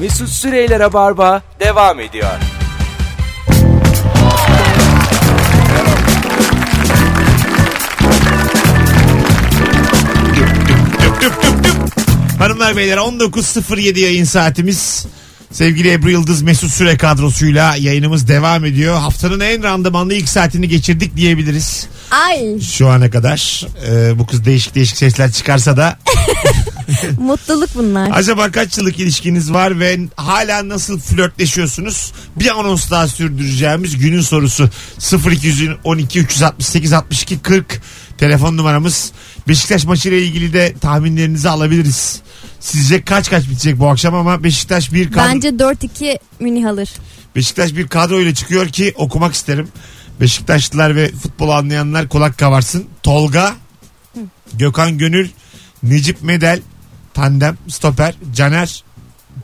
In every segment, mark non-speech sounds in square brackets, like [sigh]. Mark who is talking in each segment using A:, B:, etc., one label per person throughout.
A: Mesut Süreyler'e barba devam ediyor.
B: Düp düp düp düp. Hanımlar beyler 19.07 yayın saatimiz. Sevgili Ebru Yıldız Mesut Süre kadrosuyla yayınımız devam ediyor. Haftanın en randımanlı ilk saatini geçirdik diyebiliriz
C: Ay
B: şu ana kadar. Ee, bu kız değişik değişik sesler çıkarsa da
C: mutluluk bunlar.
B: acaba kaç yıllık ilişkiniz var ve hala nasıl flörtleşiyorsunuz? Bir anons daha sürdüreceğimiz günün sorusu 0212 368 62 40 telefon numaramız. Beşiktaş maçıyla ilgili de tahminlerinizi alabiliriz. Sizce kaç kaç bitecek bu akşam ama Beşiktaş bir kadro,
C: Bence 4-2 Münih alır.
B: Beşiktaş bir kadroyla çıkıyor ki okumak isterim. Beşiktaşlılar ve futbolu anlayanlar kulak kavarsın. Tolga, Gökhan Gönül, Necip Medel, Tandem, Stoper, Caner,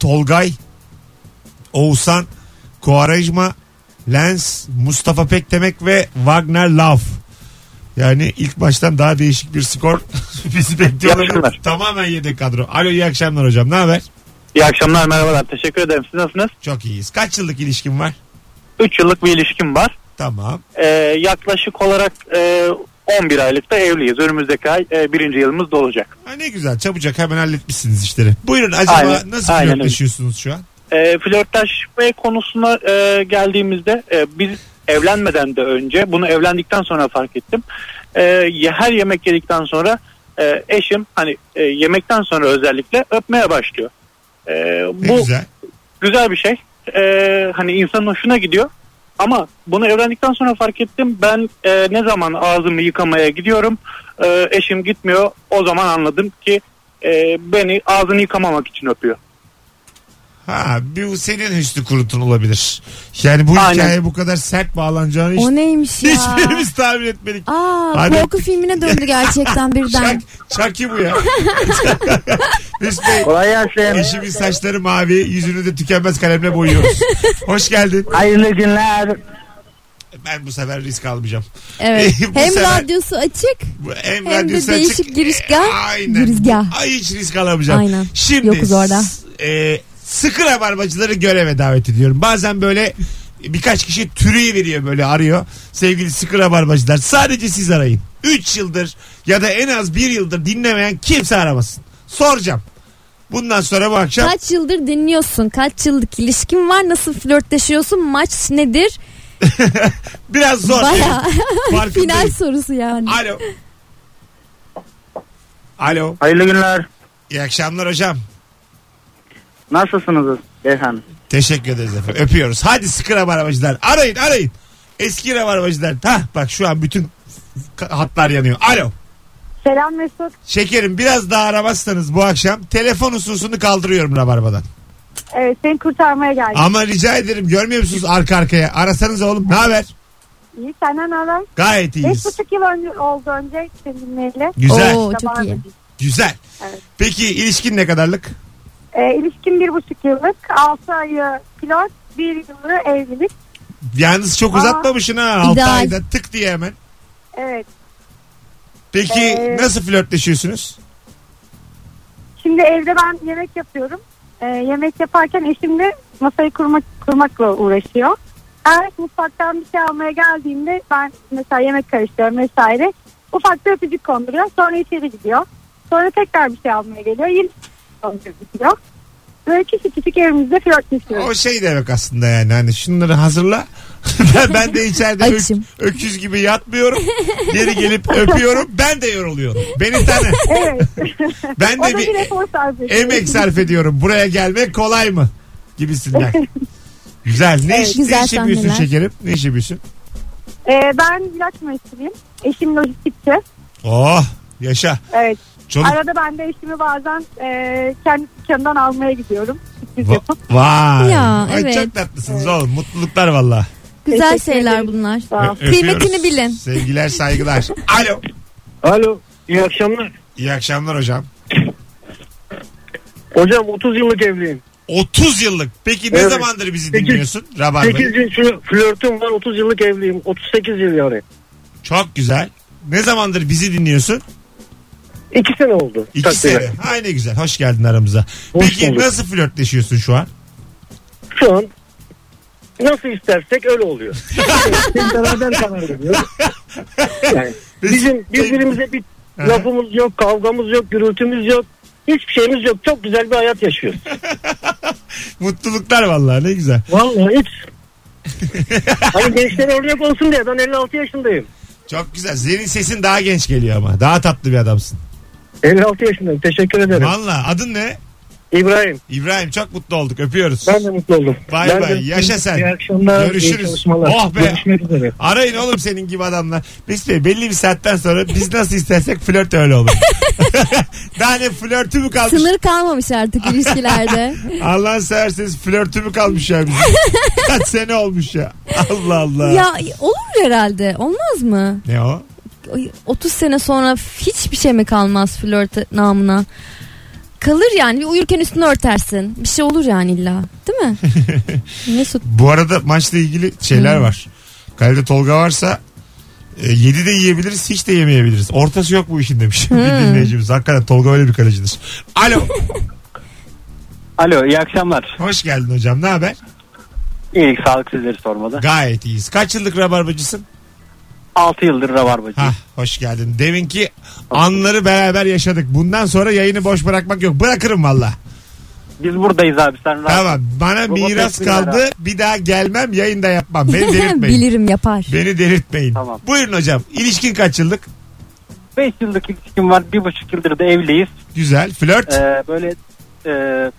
B: Tolgay, Oğuzhan, Kuarajma, Lens, Mustafa Pekdemek ve Wagner Love. Yani ilk baştan daha değişik bir skor [laughs] bizi bekliyor.
D: İyi akşamlar.
B: Tamamen yedek kadro. Alo iyi akşamlar hocam. Ne haber?
D: İyi akşamlar merhabalar teşekkür ederim siz nasılsınız?
B: Çok iyiyiz. Kaç yıllık ilişkin var?
D: 3 yıllık bir ilişkim var.
B: Tamam.
D: Ee, yaklaşık olarak e, 11 aylık da evliyiz. Önümüzdeki ay e, birinci yılımız dolacak.
B: Ha ne güzel çabucak hemen halletmişsiniz işleri. Buyurun acaba
D: Aynen,
B: nasıl
D: aynen
B: flörtleşiyorsunuz şu an?
D: E, flörtleşme konusuna e, geldiğimizde e, biz evlenmeden de önce bunu evlendikten sonra fark ettim. E, ye- her yemek yedikten sonra e, eşim hani e, yemekten sonra özellikle öpmeye başlıyor. E,
B: Ne
D: bu
B: güzel.
D: güzel bir şey. Ee, hani insanın hoşuna gidiyor. Ama bunu evlendikten sonra fark ettim. Ben e, ne zaman ağzımı yıkamaya gidiyorum, e, eşim gitmiyor. O zaman anladım ki e, beni ağzını yıkamamak için öpüyor.
B: Ha bu senin hüsnü kurutun olabilir. Yani bu
D: Aynen.
B: hikaye bu kadar sert bağlanacağını hiç,
C: O neymiş ya?
B: hiçbirimiz tahmin etmedik.
C: Aa
B: Hadi.
C: korku filmine döndü gerçekten birden.
B: Şak, şaki bu ya.
C: [laughs]
B: Mesut Bey
E: Kolay gelsin.
B: eşimin saçları mavi yüzünü de tükenmez kalemle
C: [laughs]
B: boyuyoruz. Hoş geldin.
E: Hayırlı günler.
B: Ben bu sefer risk almayacağım.
C: Evet.
B: [laughs] Bu
C: hem
B: sefer-
C: radyosu açık.
B: Bu hem,
C: Hem de
B: radyosu
C: değişik
B: açık.
C: girişgah,
B: E, Aynen.
C: girizgah.
B: Ay hiç risk alamayacağım.
C: Aynen.
B: Şimdi
C: Yokuz orada.
B: s- E, sıkı rabarbacıları göreve davet ediyorum. Bazen böyle birkaç kişi türeyi veriyor böyle arıyor. Sevgili sıkı rabarbacılar sadece siz arayın. 3 yıldır ya da en az 1 yıldır dinlemeyen kimse aramasın. Soracağım. Bundan sonra bu akşam
C: Kaç yıldır dinliyorsun? Kaç yıllık ilişkin var? Nasıl flörtleşiyorsun? Maç nedir?
B: biraz zor.
C: Baya
B: [laughs] Farkındayım.
C: final sorusu yani.
B: Alo. Alo.
E: Hayırlı günler.
B: İyi akşamlar hocam.
E: Nasılsınız beyefendi?
B: Teşekkür ederiz efendim. Öpüyoruz. Hadi sıkı rabarbacılar. Arayın arayın. Eski rabarbacılar. Ha bak şu an bütün ka- hatlar yanıyor. Alo.
F: Selam Mesut.
B: Şekerim biraz daha aramazsanız bu akşam telefon hususunu kaldırıyorum rabarbadan.
F: Evet, Ee, seni kurtarmaya geldim.
B: Ama rica ederim görmüyor musunuz arka arkaya? Arasanız oğlum ne haber?
F: İyi senden haber.
B: Gayet
F: Beş
B: iyiyiz.
F: buçuk yıl önce, oldu önce seni dinleyeli.
B: Güzel.
C: Oo çok
F: Sabah-
C: iyi.
B: Güzel.
F: Evet.
B: Peki ilişkin ne kadarlık?
F: E, ilişkin bir buçuk yıllık. Altı ayı pilot, bir yılı evlilik.
B: Yalnız çok
F: Aa,
B: uzatmamışsın ha. 6
C: ideal.
B: ayda tık diye hemen.
F: Evet.
B: Peki
F: Ee,
B: nasıl flörtleşiyorsunuz?
F: Şimdi evde ben yemek yapıyorum. E, yemek yaparken eşim de masayı kurmak, kurmakla uğraşıyor. Eğer mutfaktan bir şey almaya geldiğimde ben mesela yemek karıştırıyorum vesaire. Ufak bir öpücük konduruyor. Sonra içeri gidiyor. Sonra tekrar bir şey almaya geliyor. Yine konduruyor gidiyor. Böyle küçük küçük evimizde flörtleşiyoruz.
B: O şey demek aslında yani hani şunları hazırla. [laughs] ben, ben de içeride ök-
C: Açım.
B: öküz gibi yatmıyorum. Geri gelip öpüyorum. Ben de yoruluyorum. Beni tanı.
F: Evet.
B: Ben
F: o da
B: de
F: bir
B: bir
F: efor sarf ediyor.
B: emek sarf ediyorum. Buraya gelmek kolay mı? Gibisinden. Güzel. Ne, iş,
C: Güzel
B: ne iş yapıyorsun
C: sahneler.
B: şekerim? Ne iş yapıyorsun?
F: Ee, ben ilaç mühendisiyim. Eşim lojistikçi.
B: Oh yaşa.
F: Evet.
B: Çoluk.
F: Arada ben de eşimi bazen e, kendi dükkanından almaya gidiyorum. Sürpriz
B: Va-
F: yapıp.
B: Vay.
C: Ya,
B: Ay, Çok
C: evet.
B: tatlısınız oğlum. Mutluluklar valla.
C: Güzel
F: Teşekkür
C: şeyler
F: ederim.
C: bunlar.
F: Sağ ol.
B: Ö- öpüyoruz.
C: Kıymetini bilin.
B: Sevgiler saygılar. Alo.
G: Alo, iyi akşamlar.
B: İyi akşamlar hocam.
G: Hocam 30 yıllık evliyim.
B: 30 yıllık. Peki ne
G: Evet.
B: zamandır bizi
G: Sekiz-
B: dinliyorsun? Rabarba'yı.
G: 8 yıl flö- flörtüm var, 30 yıllık evliyim. 38 yıl yani.
B: Çok güzel. Ne zamandır bizi dinliyorsun?
G: 2 sene oldu.
B: İki
G: takriben.
B: sene. Ay ne güzel. Hoş geldin aramıza.
G: Hoş
B: Peki
G: bulduk.
B: nasıl flörtleşiyorsun şu an?
G: şu an nasıl istersek öyle oluyor. Biz beraber karar veriyoruz. Yani bizim birbirimize bir
B: Aha.
G: lafımız yok, kavgamız yok, gürültümüz yok. Hiçbir şeyimiz yok. Çok güzel bir hayat yaşıyoruz.
B: [laughs] Mutluluklar vallahi ne güzel.
G: Vallahi hiç. hani gençlere örnek olsun diye ben 56 yaşındayım.
B: Çok güzel. Senin sesin daha genç geliyor ama. Daha tatlı bir adamsın.
G: 56 yaşındayım. Teşekkür ederim.
B: Vallahi adın ne?
G: İbrahim
B: İbrahim çok mutlu olduk. Öpüyoruz.
G: ben de mutlu oldum.
B: Bay
G: Ben de
B: bay.
G: mutlu
B: Yaşa
G: oldum.
B: sen.
G: İyi akşamlar.
B: Görüşürüz.
G: iyi çalışmalar.
B: Oh be.
G: Görüşmek üzere.
B: Arayın oğlum senin gibi adamlar. Mesut Bey belli bir saatten sonra biz nasıl istersek flört öyle
G: [laughs]
B: olur. [laughs] Daha ne flörtü mü kalmış?
C: Sınır
B: [laughs]
C: kalmamış artık ilişkilerde.
B: Allah'ın seversiniz flörtü mü kalmış ya bizim? Kaç sene olmuş ya. Allah Allah.
C: ya olur herhalde. Olmaz mı?
B: Ne o?
C: Ay, 30 sene sonra hiçbir şey mi kalmaz flört namına? Kalır yani. Bir uyurken üstünü örtersin. Bir şey olur yani illa.
B: [laughs]
C: Değil mi? Mesut.
B: Bu arada maçla ilgili şeyler var. Kalede Tolga varsa e, 7 de yiyebiliriz hiç de yemeyebiliriz. Ortası yok bu işin demiş [laughs] bir dinleyicimiz. Hakikaten Tolga öyle bir kalecidir. Alo.
E: [laughs] Alo iyi akşamlar.
B: Hoş geldin hocam. Ne haber?
E: İyilik sağlık sizleri sormalı.
B: Gayet iyiyiz. Kaç yıllık rabarbacısın?
E: 6 yıldır rabarbacı.
B: Hah hoş geldin. Demin ki anları beraber yaşadık. Bundan sonra yayını boş bırakmak yok. Bırakırım valla.
E: Biz buradayız abi sen rahat.
B: Tamam bana
E: Robot
B: miras
E: etsinler
B: kaldı. Bir daha gelmem yayın da
C: [laughs]
B: yapmam. Beni delirtmeyin.
C: Bilirim yapar.
B: Beni delirtmeyin.
E: Tamam.
B: Buyurun hocam. İlişkin kaç yıllık?
E: 5 yıllık ilişkim var. 1,5 yıldır da evliyiz.
B: Güzel. Flört.
E: Ee, böyle e,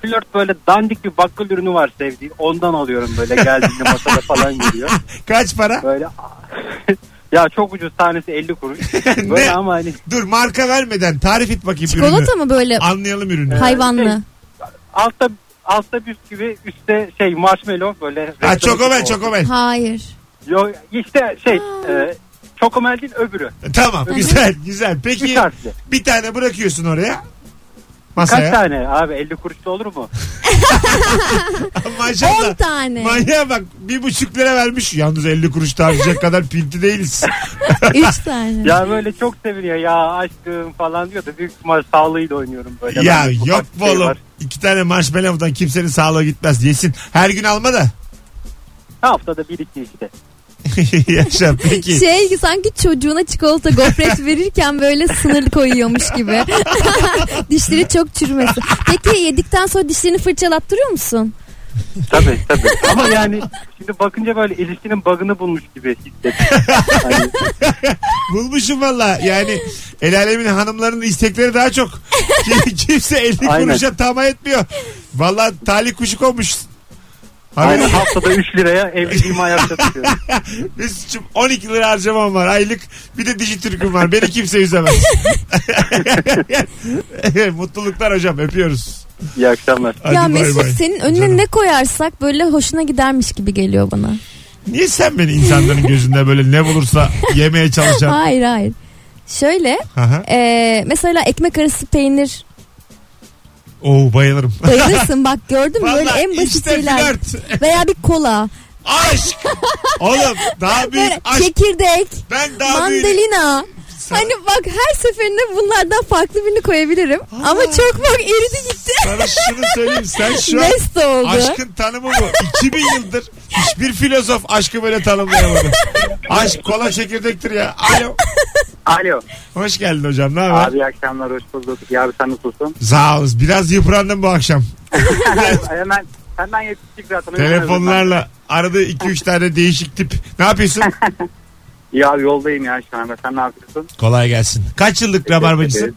E: flört böyle dandik bir bakkal ürünü var sevdiği. Ondan alıyorum böyle geldiğinde masada falan geliyor.
B: [laughs] kaç para?
E: Böyle [laughs] ya çok ucuz tanesi 50 kuruş. Böyle
B: [laughs] Ne?
E: ama hani
B: Dur marka vermeden tarif et bakayım ürünü.
C: Çikolata mı böyle
B: Anlayalım ürünü.
C: hayvanlı?
E: altta altta bisküvi üstte şey marshmallow böyle.
B: Ha, çokomel çokomel.
C: Hayır.
E: Yo, işte şey
C: Ha.
E: e, çokomel değil öbürü.
B: Tamam güzel güzel.
E: Üç
B: Peki
E: harfli.
B: bir tane bırakıyorsun oraya.
E: Kaç
B: Masaya.
E: tane abi 50 kuruş da olur mu?
B: Maşallah.
C: 10 tane.
B: Manyağa bak bir buçuk lira vermiş. Yalnız 50 kuruş
E: [laughs]
B: harcayacak kadar pinti değiliz.
C: 3 tane.
E: ya böyle çok seviniyor ya aşkım falan diyor da büyük ihtimal sağlığıyla oynuyorum böyle.
B: ya
E: Ben de ufak
B: yok
E: bir
B: bu
E: şey
B: oğlum.
E: var.
B: İki tane marshmallow'dan kimsenin sağlığı gitmez. Yesin. Her gün alma da. [laughs]
E: Haftada bir iki işte.
B: Yaşa peki.
C: [laughs] Şey sanki çocuğuna
B: [laughs]
C: çikolata gofret verirken böyle sınır koyuyormuş gibi. [laughs] Dişleri çok çürümesi. Peki yedikten sonra dişlerini fırçalattırıyor musun?
E: Tabii tabii. Ama yani şimdi bakınca böyle ilişkinin bug'ını bulmuş gibi hissettim. Hani
B: Bulmuşum valla. Yani el alemin hanımlarının istekleri daha
C: [laughs]
B: çok. Kim- Kimse 50
E: Aynen.
B: kuruşa tamah etmiyor. Valla talih kuşu konmuş. Haberin
E: aynen haftada 3 liraya evliliğimi ayakta tutuyorum.
B: Mesut'cum 12 lira harcamam var aylık. Bir de Dijitürk'üm var. Beni kimse
E: [laughs]
B: üzemez. [laughs] Mutluluklar hocam. Öpüyoruz.
E: İyi akşamlar.
B: Hadi
C: ya
B: bay
C: Mesut
B: bay.
C: senin önüne
B: Canım.
C: ne koyarsak böyle hoşuna gidermiş gibi geliyor bana.
B: Niye sen beni insanların gözünde böyle ne bulursa yemeye çalışan?
C: Hayır hayır. Şöyle
B: Aha.
C: e, mesela ekmek
B: [laughs]
C: arası peynir
B: Oo bayılırım.
C: bayılırsın bak gördün mü böyle
B: Vallahi
C: en basit
B: işte
C: şeyler.
B: flört.
C: Veya bir kola,
B: Aşk. Oğlum daha büyük
C: böyle
B: aşk.
C: çekirdek,
B: Ben daha büyük.
C: mandalina.
B: Sana,
C: Hani bak her seferinde bunlardan farklı birini koyabilirim. Ama çok bak eridi gitti.
B: sana şunu söyleyeyim. Sen şu an
C: Nest oldu.
B: Aşkın tanımı bu. 2000 yıldır hiçbir filozof aşkı böyle tanımlayamadı. Aşk kola çekirdektir ya. Alo.
E: Alo.
B: Hoş geldin hocam. Ne haber?
E: iyi akşamlar hoş bulduk. Ya abi sen nasılsın?
B: Sağ ol. Biraz yıprandım bu akşam.
E: Hemen senden yetiştik zaten.
B: Telefonlarla arada 2-3 tane değişik tip. Ne yapıyorsun?
E: Ya abi yoldayım ya şu anda. Sen ne yapıyorsun?
B: Kolay gelsin. Kaç yıllık
E: ederiz.
B: rabarbacısın?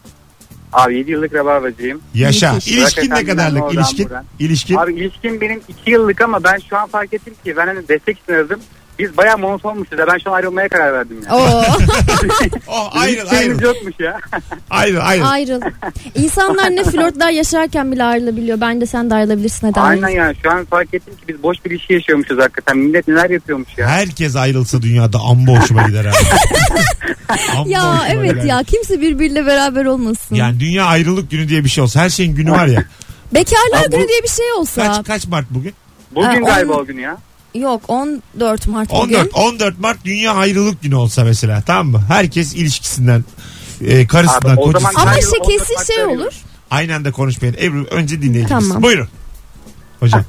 E: Abi 7 yıllık rabarbacıyım.
B: Yaşa.
C: Müthiş.
B: İlişkin ne
E: Bırak efendim,
B: kadarlık?
E: oradan
B: İlişkin.
E: buradan.
B: İlişkin.
E: Abi ilişkim benim 2 yıllık ama ben şu an fark ettim ki ben hani destek için aradım. Biz bayağı monotonmuşuz ya. Ben şu an ayrılmaya karar verdim
B: [laughs]
E: ya.
C: Oo.
B: Oh ayrıl
E: Hiçbirimiz
B: ayrıl.
E: yokmuş ya.
B: Ayrıl ayrıl.
C: Ayrıl. İnsanlar ne flörtler yaşarken bile ayrılabiliyor. Bence sen de ayrılabilirsin. Neden
E: Aynen
C: ayrılıyorsun?
E: yani şu an fark ettim ki biz boş bir ilişki yaşıyormuşuz hakikaten. Millet neler yapıyormuş ya.
B: Herkes ayrılsa dünyada amma hoşuma gider
C: [laughs]
B: abi. Amma
C: Ya
B: hoşuma
C: evet
B: gider.
C: ya kimse birbiriyle beraber olmasın.
B: Yani dünya ayrılık günü diye bir şey olsa her şeyin günü var
C: [laughs]
B: ya.
C: Bekarlar
E: Ya bu-
C: günü diye bir şey olsa.
B: Kaç kaç Mart bugün?
E: Bugün
C: Ha,
E: galiba
C: on-
E: o gün ya.
C: Yok 14 Mart
B: 14
C: bugün.
B: 14 Mart dünya ayrılık günü olsa mesela tamam mı? Herkes ilişkisinden e, karısından
E: Abi, o
B: kocasından
E: zaman-
C: Ama
E: Hayır,
C: işte
E: 14
C: kesin
E: Mart'ta
C: şey
E: arıyorum.
C: olur.
B: aynı anda konuşmayın. Ebru önce dinleyicimiz.
C: Tamam. [laughs]
B: Buyurun. Hocam.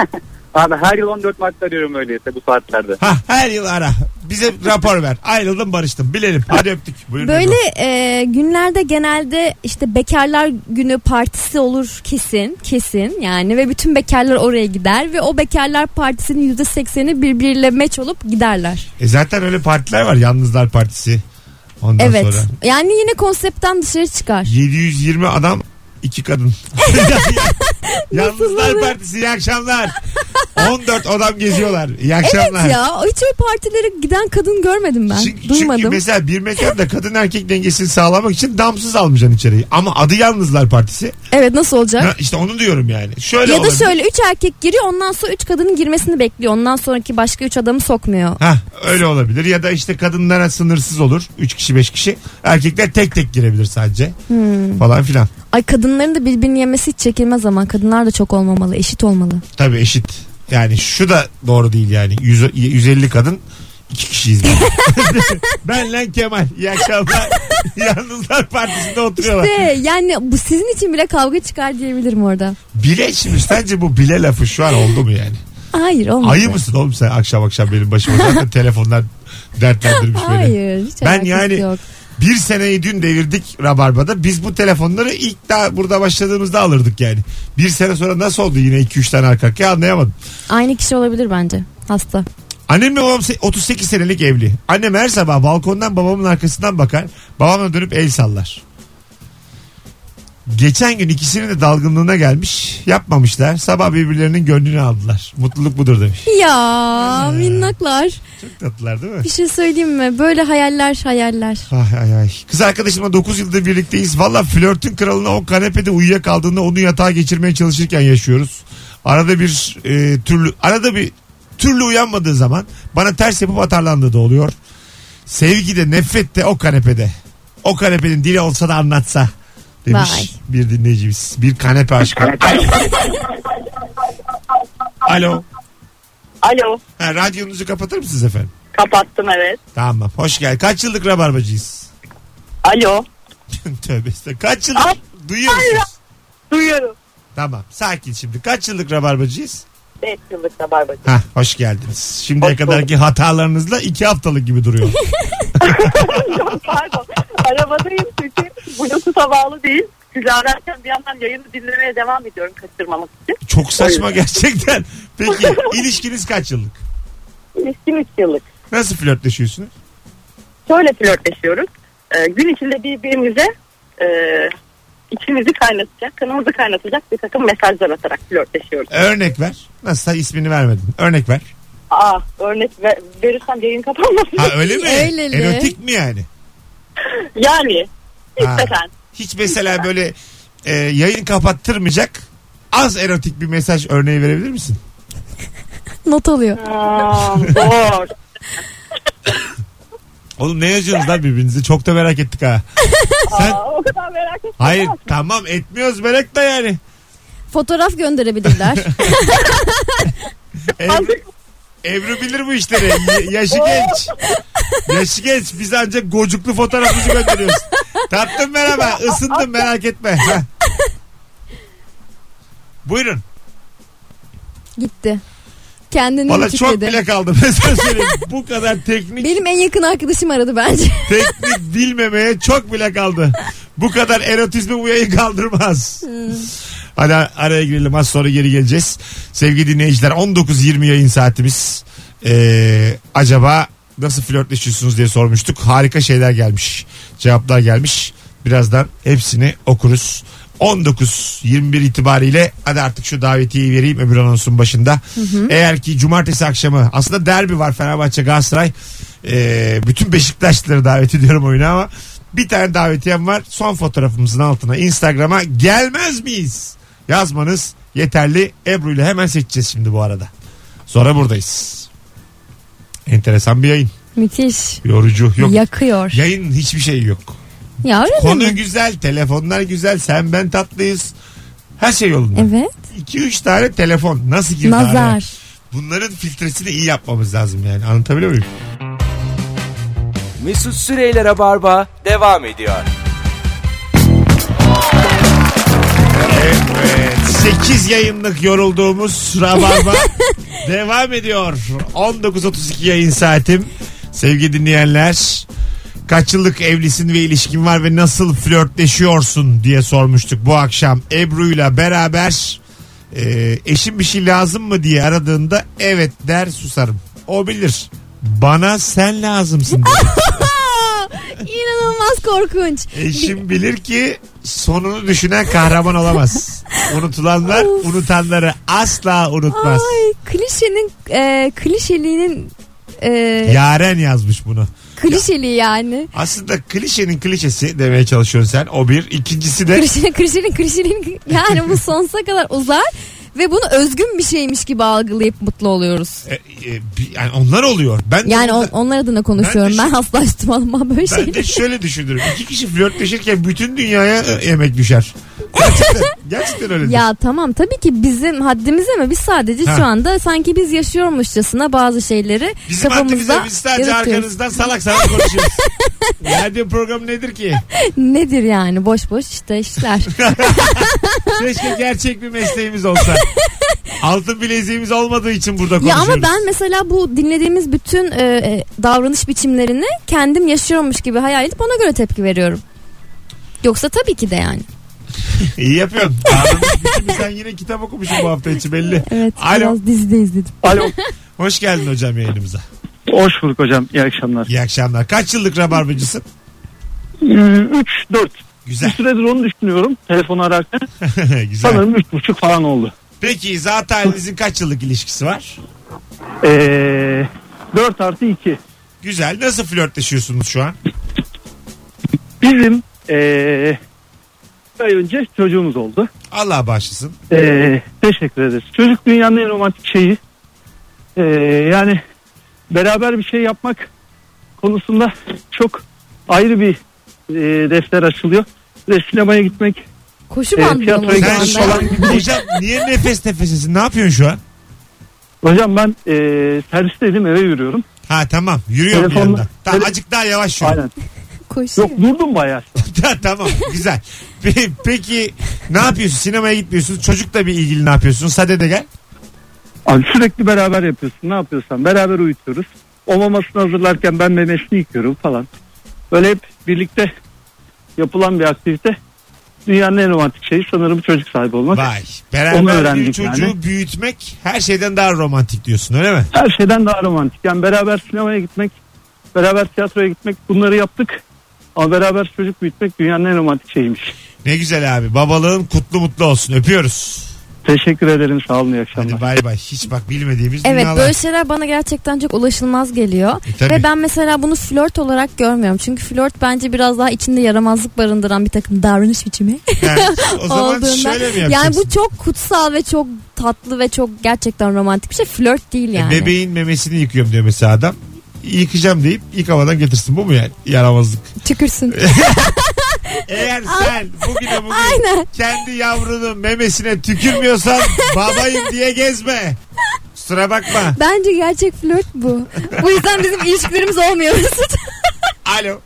E: Abi her yıl 14 Mart'ta arıyorum öyleyse bu saatlerde.
B: Ha her yıl ara. Bize rapor ver. Ayrıldım barıştım. Bilelim. Hadi öptük. Buyurun.
C: Böyle e, günlerde genelde işte bekarlar günü partisi olur kesin kesin yani ve bütün bekarlar oraya gider ve o bekarlar partisinin yüzde sekseni birbiriyle meç olup giderler.
B: E zaten öyle partiler var. Yalnızlar Partisi. Ondan
C: evet
B: sonra.
C: yani yine konseptten dışarı çıkar.
B: 720 adam iki
C: [laughs]
B: kadın. Yalnızlar Partisi iyi akşamlar. 14 adam geziyorlar. İyi akşamlar.
C: Evet ya hiç o partilere giden kadın görmedim ben
B: Çünkü,
C: duymadım.
B: çünkü mesela bir mekanda kadın erkek dengesini sağlamak için damsız almayacaksın içeriği. Ama adı Yalnızlar Partisi.
C: Evet nasıl olacak?
B: Ha, işte onu diyorum yani. Şöyle
C: Ya da
B: olabilir.
C: şöyle üç erkek giriyor ondan sonra üç kadının girmesini bekliyor. Ondan sonraki başka üç adamı sokmuyor.
B: Ha öyle olabilir ya da işte kadınlara sınırsız olur. 3 kişi 5 kişi. Erkekler tek tek girebilir sadece.
C: Hmm.
B: Falan filan.
C: Ay kadınların da birbirini yemesi hiç çekilmez ama kadınlar da çok olmamalı eşit olmalı.
B: Tabii eşit. Yani şu da doğru değil yani. 100, 150 kadın iki kişiyiz. yani. ben lan Kemal. İyi akşamlar. Yalnızlar Partisi'nde oturuyorlar.
C: De, yani bu sizin için bile kavga çıkar diyebilirim orada.
B: Bile şimdi sence bu bile lafı şu an oldu mu yani?
C: Hayır olmadı.
B: Ayı mısın oğlum sen akşam akşam benim başıma zaten telefonlar dertlendirmiş beni.
C: Hayır hiç
B: Ben
C: alakası
B: yani-
C: yok.
B: Bir seneyi dün devirdik Rabarba'da. Biz bu telefonları ilk daha burada başladığımızda alırdık yani. Bir sene sonra nasıl oldu yine 2-3 tane arka arkaya anlayamadım.
C: Aynı kişi olabilir bence hasta.
B: Annemle babam se- 38 senelik evli. Annem her sabah balkondan babamın arkasından bakar. Babamla dönüp el sallar. Geçen gün ikisinin de dalgınlığına gelmiş. Yapmamışlar. Sabah birbirlerinin gönlünü aldılar. Mutluluk budur demiş.
C: Ya
B: Hmm.
C: minnaklar.
B: Çok tatlılar değil mi?
C: Bir şey söyleyeyim mi? Böyle hayaller hayaller.
B: Ay ay ay. Kız arkadaşımla 9 yıldır birlikteyiz. Valla flörtün kralına o kanepede uyuyakaldığında onu yatağa geçirmeye çalışırken yaşıyoruz. Arada bir e, türlü arada bir türlü uyanmadığı zaman bana ters yapıp atarlandığı da oluyor. Sevgi de nefret de o kanepede. O kanepenin dili olsa da anlatsa demiş
C: Vay.
B: bir dinleyicimiz. Bir kanepe aşkı. Alo.
H: [laughs] Alo.
B: Ha, radyonuzu kapatır mısınız efendim?
H: Kapattım evet.
B: Tamam. Hoş geldin. Kaç yıllık rabarbacıyız?
H: Alo.
B: [laughs] Tövbe estağfurullah. Kaç yıllık?
H: Ay,
B: Duyuyor
H: hayır.
B: musunuz?
H: Duyuyorum.
B: Tamam sakin şimdi. Kaç yıllık rabarbacıyız?
H: 5 yıllık da barbacı.
B: Hah hoş geldiniz. Şimdiye
H: Hoş
B: kadarki hatalarınızla iki haftalık gibi
H: [laughs]
B: duruyor.
H: [laughs] Yok, Pardon. Arabadayım çünkü Bluetooth'a bağlı değil. Sizi ararken bir yandan yayını dinlemeye devam ediyorum kaçırmamak için.
B: Çok saçma gerçekten. Peki
H: [laughs]
B: ilişkiniz kaç yıllık?
H: İlişkim 3 yıllık.
B: Nasıl flörtleşiyorsunuz?
H: Şöyle flörtleşiyoruz. Ee, gün içinde birbirimize e, içimizi kaynatacak, kanımızı kaynatacak bir takım mesajlar atarak flörtleşiyoruz.
B: Örnek ver. Nasıl ismini vermedin? Örnek ver.
H: Aa, Ah, örnek ver, verirsem yayın kapanmasın.
B: Ha öyle mi?
C: Öyleli.
B: Erotik mi yani?
H: yani
B: Ha.
H: istesen.
B: Hiç mesela böyle e, yayın kapattırmayacak az erotik bir mesaj örneği verebilir misin?
C: Not alıyor.
H: Aa, zor.
B: Oğlum ne yazıyorsunuz lan birbirinize? Çok da merak ettik ha. Sen,
H: Aa, o kadar merak etme.
B: hayır tamam etmiyoruz merak da yani.
C: Fotoğraf
B: [laughs]
C: gönderebilirler.
B: Ebru, Ebru bilir bu işleri. Y- yaşı genç. Yaşı genç. Biz ancak gocuklu fotoğrafımızı gönderiyoruz. Tatlım merhaba. Isındım merak etme. Ha. Buyurun.
C: Gitti. Kendini
B: Valla çok
C: kilitledi.
B: bile kaldı. [laughs] Mesela söyleyeyim. Bu kadar teknik
C: Benim en yakın arkadaşım aradı bence.
B: teknik bilmemeye çok bile kaldı. Bu kadar erotizmi bu yayın kaldırmaz. Hadi araya girelim az sonra geri geleceğiz. Sevgili dinleyiciler 19.20 yayın saatimiz. Ee, acaba nasıl flörtleşiyorsunuz diye sormuştuk. Harika şeyler gelmiş. Cevaplar gelmiş. Birazdan hepsini okuruz. 19.21 itibariyle hadi artık şu davetiyeyi vereyim öbür anonsun başında. Eğer ki cumartesi akşamı aslında derbi var Fenerbahçe Galatasaray. Ee, bütün Beşiktaşlıları davet ediyorum oyuna ama bir tane davetiyem var. Son fotoğrafımızın altına Instagram'a gelmez miyiz? Yazmanız yeterli. Ebru ile hemen seçeceğiz şimdi bu arada. Sonra buradayız. Enteresan bir yayın.
C: Müthiş.
B: Yorucu. Yok.
C: Yakıyor.
B: Yayının hiçbir şeyi yok.
C: Ya öyle
B: Konu
C: mi?
B: güzel, telefonlar güzel, sen ben tatlıyız. Her şey yolunda.
C: Evet.
B: 2-3 tane telefon nasıl girdi araya? [laughs]
C: Nazar. [laughs]
B: Bunların filtresini iyi yapmamız lazım yani. Anlatabiliyor muyum?
A: Mesut Süreyler'e barba devam ediyor.
B: Evet. 8 yayınlık yorulduğumuz Rabarba Devam ediyor. 19.32 yayın saatim. Sevgili dinleyenler. Kaç yıllık evlisin ve ilişkin var ve nasıl flörtleşiyorsun diye sormuştuk bu akşam. Ebru'yla beraber e, eşim bir şey lazım mı diye aradığında evet der susarım. O bilir. Bana sen lazımsın der.
C: Aa, İnanılmaz korkunç.
B: Eşim bilir ki sonunu düşünen kahraman olamaz. Unutulanlar
C: Of.
B: unutanları asla unutmaz.
C: Ay klişenin e, klişeliğinin e,
B: Yaren yazmış bunu.
C: klişeliği yani.
B: Aslında klişenin klişesi demeye çalışıyorsun sen. O bir. İkincisi de
C: Klişenin klişenin klişenin [laughs] yani bu sonsuza kadar uzar ve bunu özgün bir şeymiş gibi algılayıp mutlu oluyoruz.
B: e, e, bir- yani onlar oluyor. Ben de
C: Yani on,
B: onda-
C: onlar adına konuşuyorum.
B: Ben
C: Ben,
B: de-
C: asla üstüme almam böyle şey.
B: ben
C: [laughs]
B: de
C: şeyleri.
B: şöyle düşünürüm. İki kişi flörtleşirken bütün dünyaya e, yemek
C: [laughs]
B: düşer. Gerçekten, gerçekten öyle.
C: Ya tamam tabii ki bizim haddimiz ama biz sadece
B: Ha.
C: şu anda sanki biz yaşıyormuşçasına bazı şeyleri
B: Bizim
C: kafamızda
B: haddimize biz sadece
C: yaratıyoruz.
B: arkanızdan salak salak
C: [laughs]
B: konuşuyoruz. Radyo programı nedir ki?
C: Nedir yani boş boş
B: [laughs]
C: işte işler.
B: Keşke gerçek bir mesleğimiz
C: [laughs]
B: olsa. Altın bileziğimiz olmadığı için burada
C: ya
B: konuşuyoruz.
C: ama ben mesela bu dinlediğimiz bütün e, e, davranış biçimlerini kendim yaşıyormuş gibi hayal edip ona göre tepki veriyorum. Yoksa tabii ki de yani.
B: İyi yapıyorsun. Davranış biçimi sen yine kitap okumuşsun bu hafta için belli.
C: Evet
B: Alo.
C: biraz dizide izledim.
D: Alo.
B: Hoş geldin hocam yayınımıza.
D: Hoş bulduk hocam. İyi akşamlar.
B: İyi akşamlar. Kaç yıllık rabarbacısın?
D: Hmm, 3-4. Bir
B: Güzel. [laughs]
D: süredir onu düşünüyorum. Telefonu ararken.
B: Güzel.
D: Sanırım 3,5 falan oldu.
B: Peki zaten kaç yıllık ilişkisi var?
D: Ee, 4 artı 2.
B: Güzel. Nasıl flörtleşiyorsunuz şu an?
D: Bizim ee, bir ay önce çocuğumuz oldu.
B: Allah bağışlasın.
D: Ee, teşekkür ederiz. Çocuk dünyanın en romantik şeyi. Ee, yani beraber bir şey yapmak konusunda çok ayrı bir ee, defter açılıyor. Ve sinemaya gitmek.
C: Koşu
D: Evet,
C: bandında mı
D: tiyatroya
C: şu
D: giden
B: Sen
C: anda?
B: şu an [laughs] hocam niye nefes nefesesin? Ne yapıyorsun şu an?
D: Hocam ben ee, servisteydim eve yürüyorum.
B: Ha tamam. Yürüyorum bir
D: Telefonla-
B: yandan. Tamam
D: Tele-
B: azıcık daha yavaş şu an.
D: Aynen.
C: Koşuyor.
D: Yok durdum bayağı.
B: [laughs] Ta- tamam güzel. Pe- Peki ne yapıyorsun? Sinemaya gitmiyorsun. Çocukla bir ilgili ne yapıyorsun? Sade de gel.
D: Abi sürekli beraber yapıyorsun. Ne yapıyorsan beraber uyutuyoruz. O mamasını hazırlarken ben memesini yıkıyorum falan. Böyle hep birlikte yapılan bir aktivite. Dünyanın en romantik şeyi sanırım çocuk sahibi olmak.
B: Vay.
D: Onu
B: Beraber bir
D: öğrendik
B: çocuğu
D: yani.
B: büyütmek her şeyden daha romantik diyorsun öyle mi?
D: Her şeyden daha romantik. Yani beraber sinemaya gitmek, beraber tiyatroya gitmek bunları yaptık. Ama beraber çocuk büyütmek dünyanın en romantik şeyiymiş.
B: Ne güzel abi. Babalığın kutlu mutlu olsun. Öpüyoruz.
D: Teşekkür ederim. Sağ olun. iyi akşamlar.
B: Hadi bay bay. Hiç bak bilmediğimiz
C: Evet
B: dünyalar.
C: böyle şeyler bana gerçekten çok ulaşılmaz geliyor.
B: E, tabii.
C: Ve ben mesela bunu flört olarak görmüyorum. Çünkü flört bence biraz daha içinde yaramazlık barındıran bir takım davranış biçimi. [laughs]
B: Yani o zaman
C: olduğundan.
B: şöyle mi yapacaksın?
C: Yani bu çok kutsal ve çok tatlı ve çok gerçekten romantik bir şey. Flört
B: E,
C: değil yani.
B: Bebeğin memesini yıkıyorum diyor mesela adam. Yıkacağım deyip yıkamadan getirsin. Bu mu yani? Yaramazlık. [laughs]
C: Çıkırsın.
B: Eğer sen
C: [laughs]
B: bugüne bugün
C: Aynen.
B: kendi yavrunun memesine tükürmüyorsan
C: [laughs]
B: babayım diye gezme. Kusura bakma.
C: Bence gerçek flört bu. Bu yüzden bizim ilişkilerimiz olmuyor. [laughs] Mesut.
B: Alo.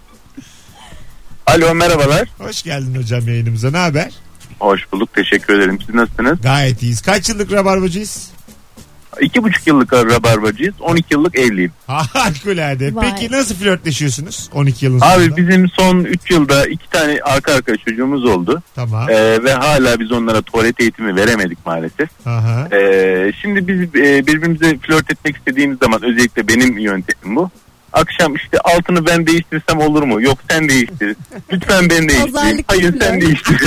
E: Alo merhabalar.
B: Hoş geldin hocam yayınımıza. Ne haber?
E: Hoş bulduk teşekkür ederim. Siz nasılsınız?
B: Gayet iyiyiz. Kaç yıllık rabarbacıyız? [laughs]
E: İki buçuk yıllık rabarbacıyız. 12 yıllık evliyim.
B: Harikulade.
C: Vay.
B: Peki nasıl flörtleşiyorsunuz 12 yılın sonunda?
E: Abi bizim son 3 yılda iki tane arka arka çocuğumuz oldu.
B: Tamam.
E: Ee, ve hala biz onlara tuvalet eğitimi veremedik maalesef.
B: Aha.
E: Ee, şimdi biz e, birbirimize flört etmek istediğimiz zaman özellikle benim yöntemim bu. Akşam işte altını ben değiştirsem olur mu? Yok sen değiştir. Lütfen ben değiştireyim.
C: Pazarlık
E: Hayır sen
C: yapıyor.
E: değiştir.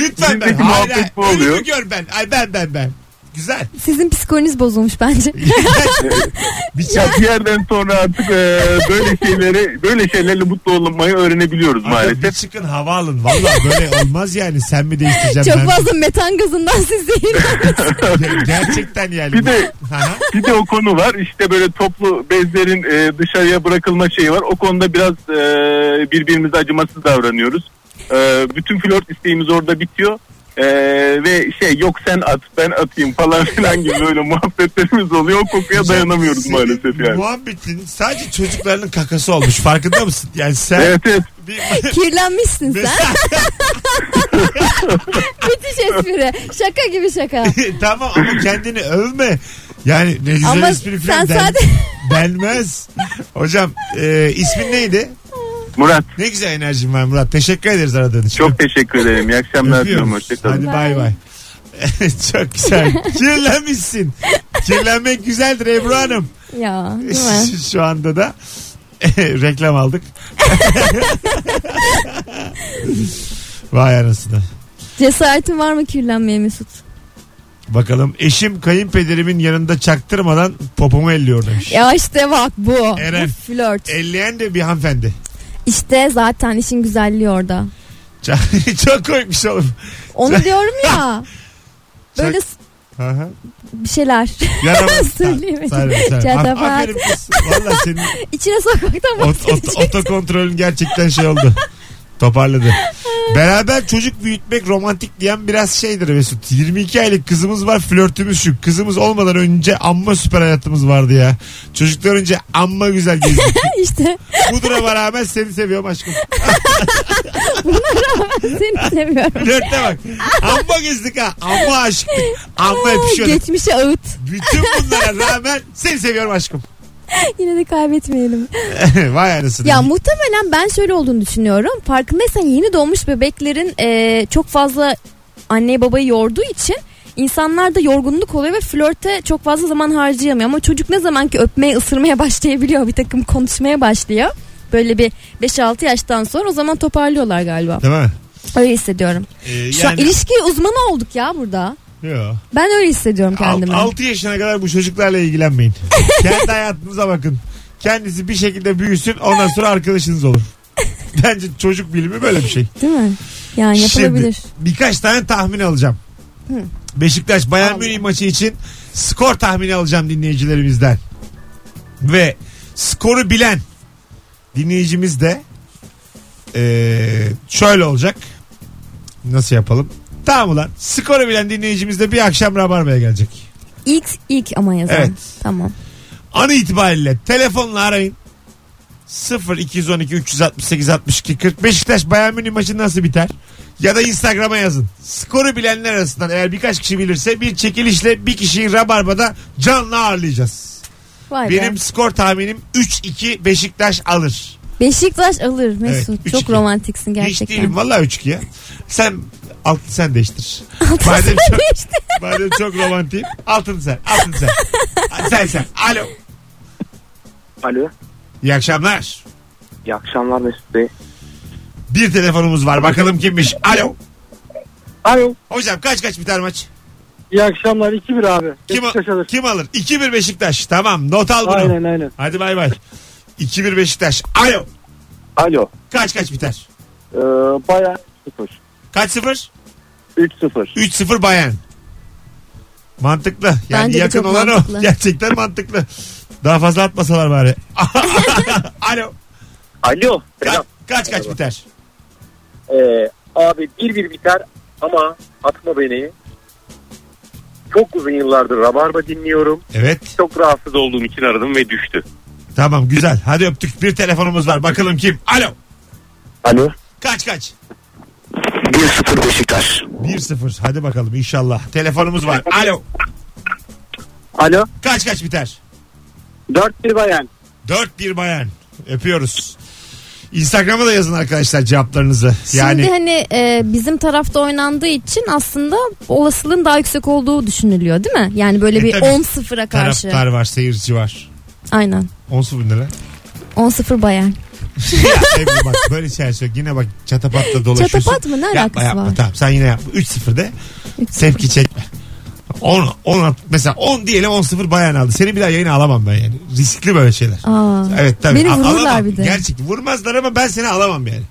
B: Lütfen ben.
E: Bizdeki
B: Hayır,
E: muhabbet
B: hayır.
E: bu oluyor.
B: Önümü gör ben. Ay ben ben ben.
C: [laughs]
B: Güzel.
C: Sizin psikolojiniz bozulmuş bence.
B: bir şey-
E: ya
B: çay-
E: bir yerden sonra artık e, böyle şeyleri böyle şeylerle mutlu olmayı öğrenebiliyoruz
B: Aga bir
E: maalesef.
B: çıkın hava alın. Valla böyle olmaz yani. Sen mi değiştireceğim ben?
C: Çok
B: mi?
C: fazla metan gazından
B: [laughs]
C: siz değil.
B: Ger- Gerçekten yani.
E: Bir de-
B: Aha.
E: Bir de o konu var işte böyle toplu bezlerin e, dışarıya bırakılma şeyi var. O konuda biraz e, birbirimize acımasız davranıyoruz. E, bütün flört isteğimiz orada bitiyor. Ee, ve şey yok sen at ben atayım falan filan gibi böyle [laughs] muhabbetlerimiz oluyor. O kokuya dayanamıyoruz
B: Senin
E: maalesef yani.
B: Muhabbetin sadece çocuklarının kakası olmuş farkında mısın? Yani sen
E: Evet evet.
B: bir,
C: Kirlenmişsin sen.
B: Mesela-
C: Müthiş espri. Şaka gibi şaka.
B: [laughs] tamam ama kendini övme. Yani ne güzel
C: Ama
B: espri falan
C: sen
B: den-
C: sadece-
B: [laughs] denmez. Hocam e, ismin neydi?
E: Murat
B: Ne güzel enerjin var Murat. Teşekkür ederiz aradığın için.
E: çok teşekkür ederim. İyi akşamlar diliyorum.
B: Öpüyoruz.
E: Hoşçakalın.
B: Hadi bay bay. [laughs] çok güzel. Kirlenmişsin. Kirlenmek güzeldir Ebru Hanım.
C: Ya değil mi?
B: Şu anda da [laughs] reklam
C: [laughs]
B: aldık. Vay anasını.
C: Cesaretin var mı kirlenmeye Mesut?
B: Bakalım eşim kayınpederimin yanında çaktırmadan popomu elliyor demiş.
C: Ya işte bak bu.
B: Eren. E-
C: Bu flört.
B: Elleyen de bir hanımefendi.
C: İşte zaten işin güzelliği orada.
B: Ç- [laughs] Çok koymuş oğlum.
C: Onu diyorum
B: [laughs]
C: ya. Böyle s-
B: Aha.
C: bir şeyler. [laughs]
B: Yaramaz.
C: Söyleyemedim.
B: Sarı, sarı.
C: Çatafat.
B: Af- Aferin kız. Valla senin
C: İçine
B: ot,
C: sokmaktan
B: ot,
C: bahsedecek.
B: otokontrolün gerçekten şey oldu. Toparladı. Beraber çocuk büyütmek romantik diyen biraz şeydir Mesut. 22 aylık kızımız var flörtümüz şu. Kızımız olmadan önce amma süper hayatımız vardı ya. Çocuklar önce amma güzel gezdik.
C: işte [laughs]
B: Bu duruma rağmen seni seviyorum aşkım.
C: seni seviyorum.
B: Flörte bak. Amma gezdik ha. Amma aşktık. Amma öpüşüyorduk.
C: Geçmişe ağıt.
B: Bütün bunlara rağmen seni seviyorum aşkım. [laughs]
C: Yine de kaybetmeyelim.
B: Vay anasını.
C: Ya muhtemelen ben şöyle olduğunu düşünüyorum. Farkındaysan yeni doğmuş bebeklerin e, çok fazla anneyi babayı yorduğu için insanlarda yorgunluk oluyor ve flörte çok fazla zaman harcayamıyor. Ama çocuk ne zaman ki öpmeye ısırmaya [laughs] başlayabiliyor bir takım konuşmaya başlıyor. Böyle bir 5-6 yaştan sonra o zaman toparlıyorlar galiba.
B: Değil mi?
C: Öyle hissediyorum.
B: Ee,
C: Şu an ilişki uzmanı olduk ya burada.
B: Yo.
C: Ben öyle hissediyorum kendimi.
B: 6 yaşına kadar bu çocuklarla ilgilenmeyin. [laughs] Kendi hayatınıza bakın. Kendisi bir şekilde büyüsün ondan sonra arkadaşınız olur. Bence çocuk bilimi böyle bir şey.
C: Değil mi? Yani yapılabilir.
B: birkaç tane tahmin alacağım. Beşiktaş Bayern Münih maçı için skor tahmini alacağım dinleyicilerimizden. Ve skoru bilen dinleyicimiz de eee, şöyle olacak. Nasıl yapalım? Tamam ulan. Skoru bilen dinleyicimiz de bir akşam Rabarba'ya gelecek.
C: İlk ilk ama yazan.
B: Evet.
C: Tamam.
B: An itibariyle telefonla arayın. 0 212 368 62 40 Beşiktaş Bayern Münih maçı nasıl biter? Ya da Instagram'a yazın. Skoru bilenler arasından eğer birkaç kişi bilirse bir çekilişle bir kişiyi Rabarba'da canlı ağırlayacağız.
C: Vay be.
B: Benim skor tahminim 3-2 Beşiktaş alır.
C: Beşiktaş alır
B: Evet,
C: Mesut.
B: üç
C: Çok
B: iki.
C: romantiksin
B: Hiç değilim
C: [laughs] gerçekten.
B: valla 3-2 ya. Sen [laughs] altını sen değiştir. Madem çok, madem çok romantik. Altını sen. Altını [laughs] sen. sen sen. Alo.
I: Alo.
B: İyi akşamlar.
I: İyi akşamlar Mesut Bey.
B: Bir telefonumuz var. Bakalım kimmiş. Alo.
G: Alo.
B: Hocam kaç kaç biter maç?
G: İyi akşamlar. 2-1 abi.
B: Kim, al-
G: Beşiktaş alır.
B: kim alır? 2-1 Beşiktaş. Tamam not al bunu.
G: Aynen aynen.
B: Hadi bay bay. 2-1 Beşiktaş. Alo.
I: Alo.
B: Kaç kaç biter?
I: Ee, Bayan 0.
B: Kaç 0?
I: 3-0.
B: 3-0 Bayern. Mantıklı. Yani
C: Bence de
B: yakın
C: çok
B: olan o.
C: mantıklı.
B: [laughs] Gerçekten mantıklı. Daha fazla atmasalar bari. [laughs] Alo.
I: Alo.
B: Ka-
I: Selam.
B: kaç kaç biter?
I: Ee, abi 1-1 biter ama atma beni. Çok uzun yıllardır Rabarba dinliyorum.
B: Evet.
E: Çok rahatsız olduğum için aradım ve düştü.
B: Tamam güzel. Hadi öptük. Bir telefonumuz var. Bakalım kim? Alo.
I: Alo.
B: Kaç kaç?
I: 1-0 Beşiktaş.
B: 1-0. Hadi bakalım inşallah. Telefonumuz var. Alo.
G: Alo.
B: Kaç kaç biter?
G: 4-1 bayan.
B: 4-1 Bayern. Öpüyoruz. Instagram'a da yazın arkadaşlar cevaplarınızı. [laughs] Yani
C: Şimdi hani e, bizim tarafta oynandığı için aslında olasılığın daha yüksek olduğu düşünülüyor değil mi? Yani böyle
B: E,
C: bir
B: tabii.
C: 10-0'a karşı.
B: taraftar var, seyirci var.
C: Aynen.
B: 10-0 ne lan?
C: 10-0 Bayern.
B: Ya Ebru bak böyle şeyler sök. Yine bak çatapatla dolaşıyorsun.
C: Çatapat mı? Ne
B: yapma
C: alakası
B: yapma
C: var?
B: tamam sen yine yapma. 3-0 de
C: Üç sıfır.
B: tepki çekme. 10, 10, mesela 10 diyelim 10-0 Bayern aldı. Seni bir daha yayına alamam ben yani. Riskli böyle şeyler.
C: Aa.
B: Evet tabii.
C: Beni
B: A-
C: vururlar
B: alamam.
C: bir de.
B: Gerçekten vurmazlar ama ben seni alamam
C: [laughs]
B: yani.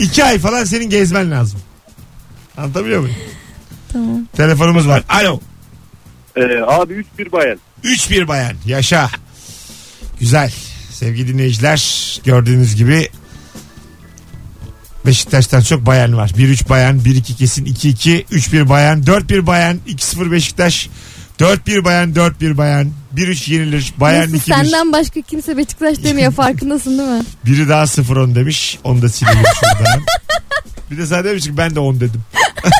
B: 2 ay falan senin gezmen lazım. Anlatabiliyor muyum?
C: Tamam.
B: Telefonumuz var. Alo.
E: Ee, abi 3-1 Bayern.
B: 3-1 bayan. Yaşa. Güzel. Sevgili dinleyiciler gördüğünüz gibi Beşiktaş'tan çok bayan var. 1-3 bayan, 1-2 kesin, 2-2, 3-1 bayan, 4-1 bayan, 2-0 Beşiktaş, 4-1 bayan, 4-1 bayan, 1-3 yenilir, bayan
C: Mesut,
B: 2-1.
C: senden başka kimse Beşiktaş
B: [laughs]
C: demiyor farkındasın değil mi?
B: Biri daha 0-10 demiş. Onu da sileyim şuradan. Bir de sen demiş ki ben de 10 dedim. [laughs]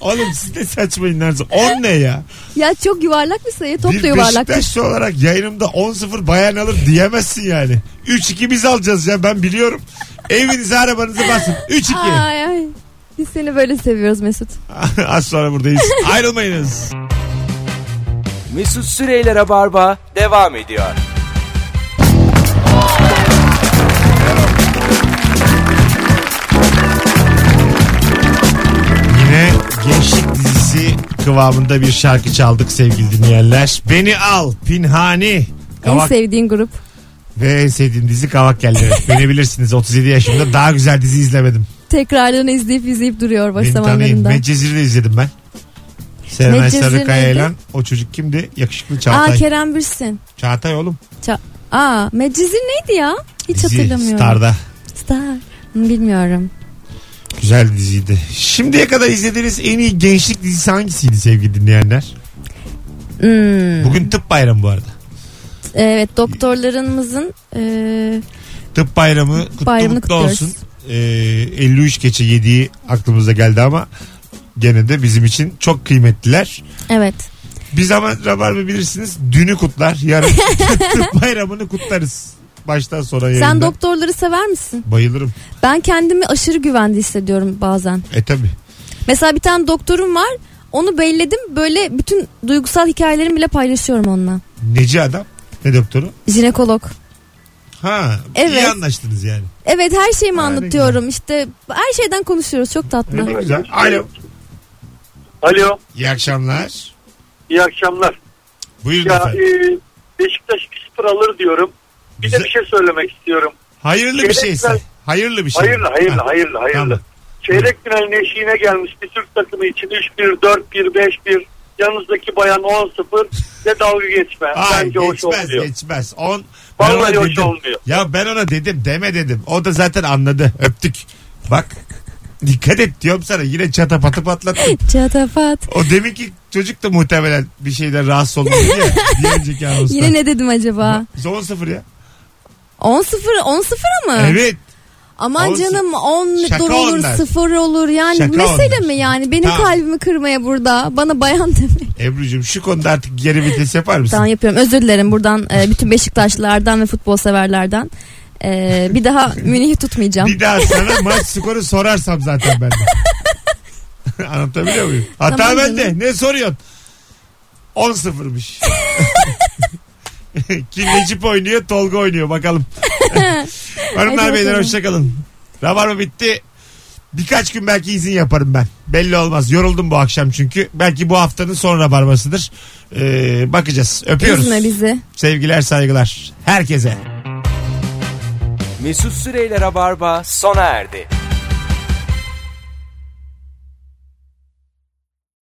B: Oğlum siz de saçma inansın. 10 ne ya?
C: Ya çok yuvarlak bir sayı. Top
B: bir
C: da yuvarlaktır.
B: Beşiktaşlı olarak yayınımda 10-0 bayan alır diyemezsin yani. 3-2 biz alacağız ya ben biliyorum. Evinize arabanızı basın. 3-2.
C: Ay ay. Biz seni böyle seviyoruz Mesut.
B: [laughs] Az sonra buradayız. Ayrılmayınız.
A: Mesut Süreyler'e barba devam ediyor.
B: Yine gençlik dizisi kıvamında bir şarkı çaldık sevgili dinleyenler. Beni al Pinhani.
C: En
B: Kavak
C: sevdiğin grup.
B: ve en sevdiğim dizi Kavak
C: [laughs]
B: geldi. Beni bilirsiniz 37 yaşımda daha güzel dizi izlemedim.
C: Tekrardan izleyip izleyip duruyor boş
B: Beni tanıyın.
C: zamanlarında.
B: Medcezir'i de izledim ben. Serenay
C: Medcezir
B: Sarıkaya'yla
C: neydi?
B: o çocuk kimdi? Yakışıklı Çağatay.
C: Aa Kerem Bürsin.
B: Çağatay oğlum.
C: Ça- Aa Mecizir neydi ya? Hiç
B: Dizi,
C: hatırlamıyorum.
B: Star'da.
C: Star. Hmm, Bilmiyorum.
B: Güzel bir diziydi. Şimdiye kadar izlediğiniz en iyi gençlik dizisi hangisiydi sevgili dinleyenler?
C: Hmm.
B: Bugün tıp bayramı bu arada.
C: Evet doktorlarımızın e,
B: Tıp bayramı kutlu
C: Bayramını
B: mutlu
C: kutluyoruz.
B: olsun. Ee, 53 gece yediği aklımıza geldi ama gene de bizim için çok kıymetliler.
C: evet
B: Biz ama Rabarba bilirsiniz dünü kutlar.
C: [laughs]
B: Yarın tıp bayramını kutlarız. Baştan sona yayında.
C: Sen doktorları sever misin?
B: Bayılırım.
C: Ben kendimi aşırı güvende hissediyorum bazen.
B: E tabi.
C: Mesela bir tane doktorum var. Onu belledim. Böyle bütün duygusal hikayelerimi bile paylaşıyorum onunla.
B: Neci adam? Ne doktoru?
C: Jinekolog.
B: Ha.
C: Evet.
B: iyi anlaştınız yani.
C: Evet her şeyimi
B: Ha, ne
C: anlatıyorum. İşte her şeyden konuşuyoruz. Çok
B: Ne
C: tatlı.
B: güzel. Alo.
G: Alo.
B: İyi akşamlar.
G: iyi akşamlar.
B: Buyurun
G: Ya
B: efendim.
G: e, Beşiktaş 1-0 alır diyorum. Bir
B: Güzel.
G: de bir şey söylemek istiyorum.
B: Hayırlı bir
G: Gerek
B: şeyse.
G: ben-
B: Hayırlı bir şey.
G: Hayırlı hayırlı
B: Ha,
G: hayırlı hayırlı.
B: Tamam.
G: Çeyrek finalin eşiğine gelmiş bir Türk takımı için 3-1, 4-1, 5-1. Yanınızdaki bayan 10-0 ve dalga geçme.
B: Ay,
G: Bence hoş
B: geçmez
G: olmuyor.
B: geçmez. On, ben
G: Vallahi
B: ona
G: hoş
B: dedim.
G: olmuyor.
B: Ya ben ona dedim deme dedim. O da zaten anladı. Öptük. Bak dikkat et diyorum sana yine çata patı patlattın.
C: Çatafat.
B: O demin ki çocuk da muhtemelen bir şeyden rahatsız olmuş ya. Bir önceki anonsta.
C: [laughs] Yine ne dedim acaba?
B: 10-0 ya.
C: 10-0 10-0 mı?
B: Evet.
C: Aman
B: On sı-
C: canım 10
B: Şaka
C: dur olur
B: onlar.
C: 0 olur yani
B: Şaka
C: mesele
B: onlar.
C: mi yani benim
B: Tamam.
C: kalbimi kırmaya burada bana bayan [laughs] demek.
B: Ebru'cum şu konuda artık geri vites yapar mısın?
C: Tamam yapıyorum özür dilerim buradan e, bütün Beşiktaşlılardan ve futbol severlerden. E, bir daha Münih'i tutmayacağım.
B: Bir daha sana maç skoru sorarsam zaten ben de. [laughs] Anlatabiliyor muyum? Hata
C: Tamam
B: bende.
C: canım.
B: Ne soruyorsun? 10-0'mış. [laughs] Kim Necip oynuyor, Tolga oynuyor.
C: [laughs]
B: Bakalım. Hanımlar
C: Hadi
B: beyler
C: bakalım.
B: hoşçakalın. Rabarba bitti. Birkaç gün belki izin yaparım ben. Belli olmaz. Yoruldum bu akşam çünkü. Belki bu haftanın son rabarbasıdır. Ee, bakacağız. Öpüyoruz.
C: Üzme bizi.
B: Sevgiler saygılar. Herkese.
A: Mesut Süreyler'e barba sona erdi.